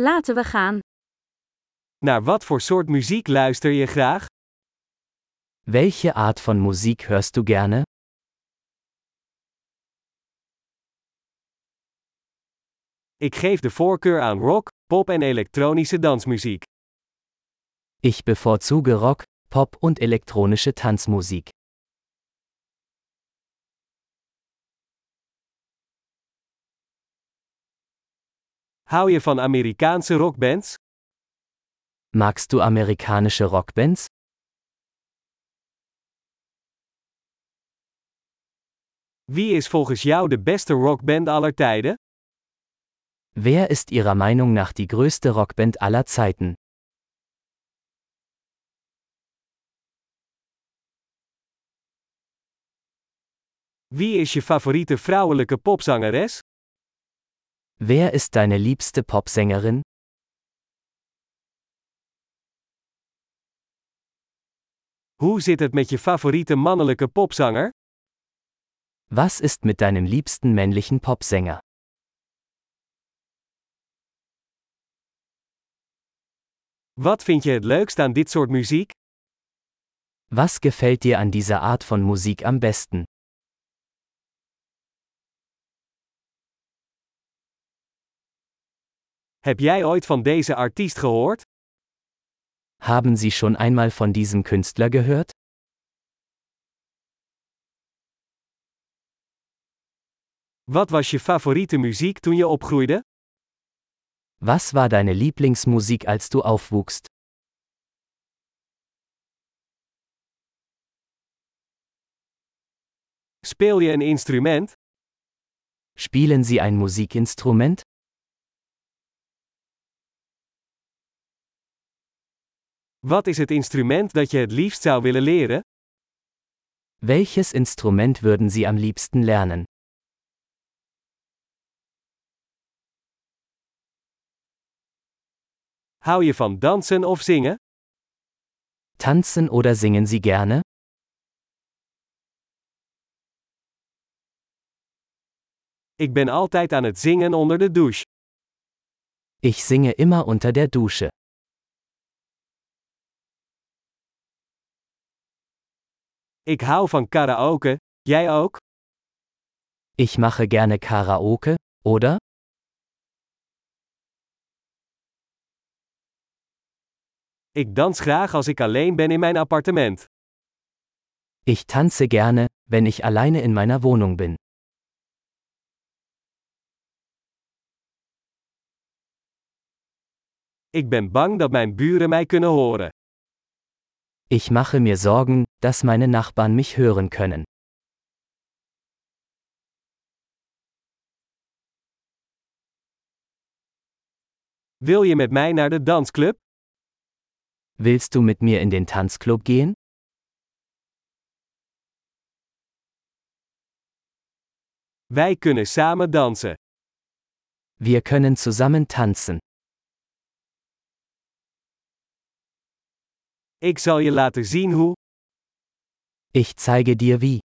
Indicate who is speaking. Speaker 1: Laten we gaan.
Speaker 2: Naar wat voor soort muziek luister je graag?
Speaker 3: Welche Art von Musik hörst du gerne?
Speaker 2: Ik geef de voorkeur aan rock, pop en elektronische dansmuziek.
Speaker 3: Ich bevorzuge Rock, Pop und elektronische Tanzmusik.
Speaker 2: Hou je van Amerikaanse rockbands?
Speaker 3: Magst du amerikanische Rockbands?
Speaker 2: Wie is volgens jou de beste rockband aller tijden?
Speaker 3: Wer ist Ihrer Meinung nach die größte Rockband aller Zeiten?
Speaker 2: Wie is je favoriete vrouwelijke popzangeres?
Speaker 3: Wer ist deine liebste Popsängerin?
Speaker 2: Hoe zit het met je favoriete mannelijke popzanger?
Speaker 3: Was ist mit deinem liebsten männlichen Popsänger?
Speaker 2: Wat vind je het leukst aan dit soort muziek?
Speaker 3: Was gefällt dir an dieser Art von Musik am besten?
Speaker 2: Heb jij ooit van deze artiest gehoord?
Speaker 3: Haben Sie schon einmal von diesem Künstler gehört?
Speaker 2: Wat was je favoriete muziek toen je opgroeide?
Speaker 3: Was war deine Lieblingsmusik, als du aufwuchst?
Speaker 2: Speel je een instrument?
Speaker 3: Spielen Sie ein Musikinstrument?
Speaker 2: Wat is het instrument dat je het liefst zou willen leren?
Speaker 3: Welches Instrument würden Sie am liebsten lernen?
Speaker 2: Hou je van dansen of zingen?
Speaker 3: Tanzen oder singen Sie gerne?
Speaker 2: Ik ben altijd aan het zingen onder de douche.
Speaker 3: Ich singe immer unter der Dusche.
Speaker 2: Ik hou van karaoke, jij ook?
Speaker 3: Ich mache gerne Karaoke, oder?
Speaker 2: Ik dans graag als ik alleen ben in mijn appartement.
Speaker 3: Ich tanze gerne, wenn ich alleine in meiner Wohnung bin.
Speaker 2: Ik ben bang dat mijn buren mij kunnen horen.
Speaker 3: Ich mache mir Sorgen, dass meine Nachbarn mich hören können.
Speaker 2: Wil je met mij naar de dansclub?
Speaker 3: Willst du mit mir in den Tanzclub gehen?
Speaker 2: Wij kunnen samen dansen.
Speaker 3: Wir können zusammen tanzen.
Speaker 2: Ik zal je laten zien hoe.
Speaker 3: Ich zeige dir wie.